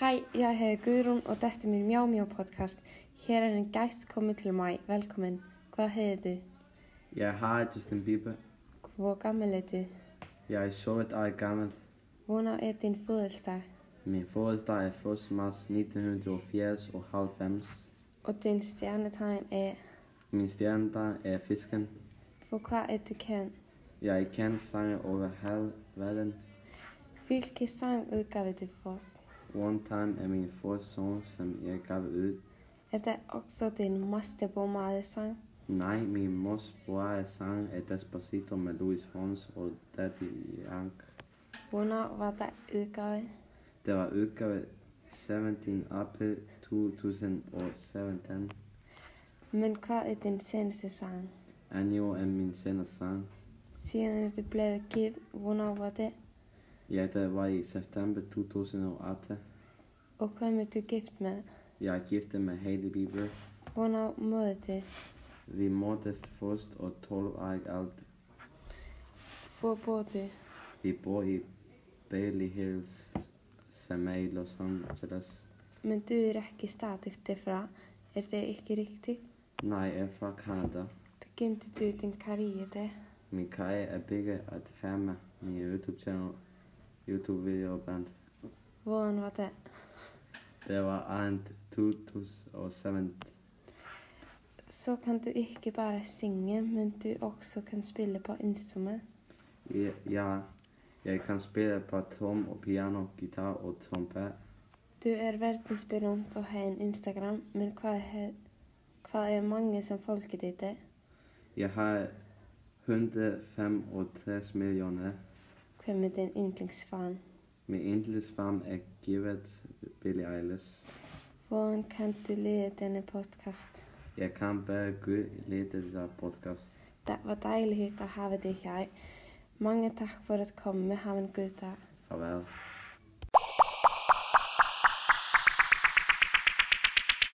Hæ, ég heiti Guðrún og þetta er mér Mjá Mjá podcast. Hér er en gæst komið til mæ, velkomin. Hvað heitir þú? Jeg har Justin Bieber. Hvor gammel er du? Jeg er 17 år gammel. Hvornår er din fødselsdag? Min fødselsdag er 1. marts 1980 og 90. Og din stjernetegn er, Min stjernedag er fisken. for hvad er du kendt? Jeg er kendt sanger over hele verden. Hvilke sang udgav du for os? One Time er min første sang, som jeg gav ud. Er der også din masterbomade sang? Nej, min mors bror sang er Despacito med Louis Fons og Daddy Yank. Hvornår var der udgavet? Det var udgave 17. april 2017. Men hvad er din seneste sang? Anjo er min seneste sang. Siden du blev gift, hvornår var det? Ja, det var i september 2018. Og hvem er du gift med? Jeg er gift med Heidi Bieber. Hvornår mødte du? Vi mødtes først og 12 år alt. Hvor bor du? Vi bor i Bailey Hills, som er i Los Angeles. Men du er ikke stadig derfra. Er det ikke riktigt? Nej, jeg er fra Canada. Begynte du din karriere? Min karriere er bygget at have med min YouTube-channel, YouTube-video band. Hvordan var det? Det var end 2007. Så kan du ikke bare synge, men du også kan spille på instrument. Jeg, jeg, jeg kan spille på tom og piano, guitar og trompet. Du er verdensberømt og har en Instagram, men hva er, hva er mange som folket ditt er? Jeg har 165 millioner. Hvem er din yndlingsfan? Min yndlingsfarm er givet Billie Eilish. Hvordan kan du lide denne podcast? Jeg kan bare Gud lede der podcast. Det var deilig å ha deg her. Mange takk for at komme. Ha en god dag. Farvel.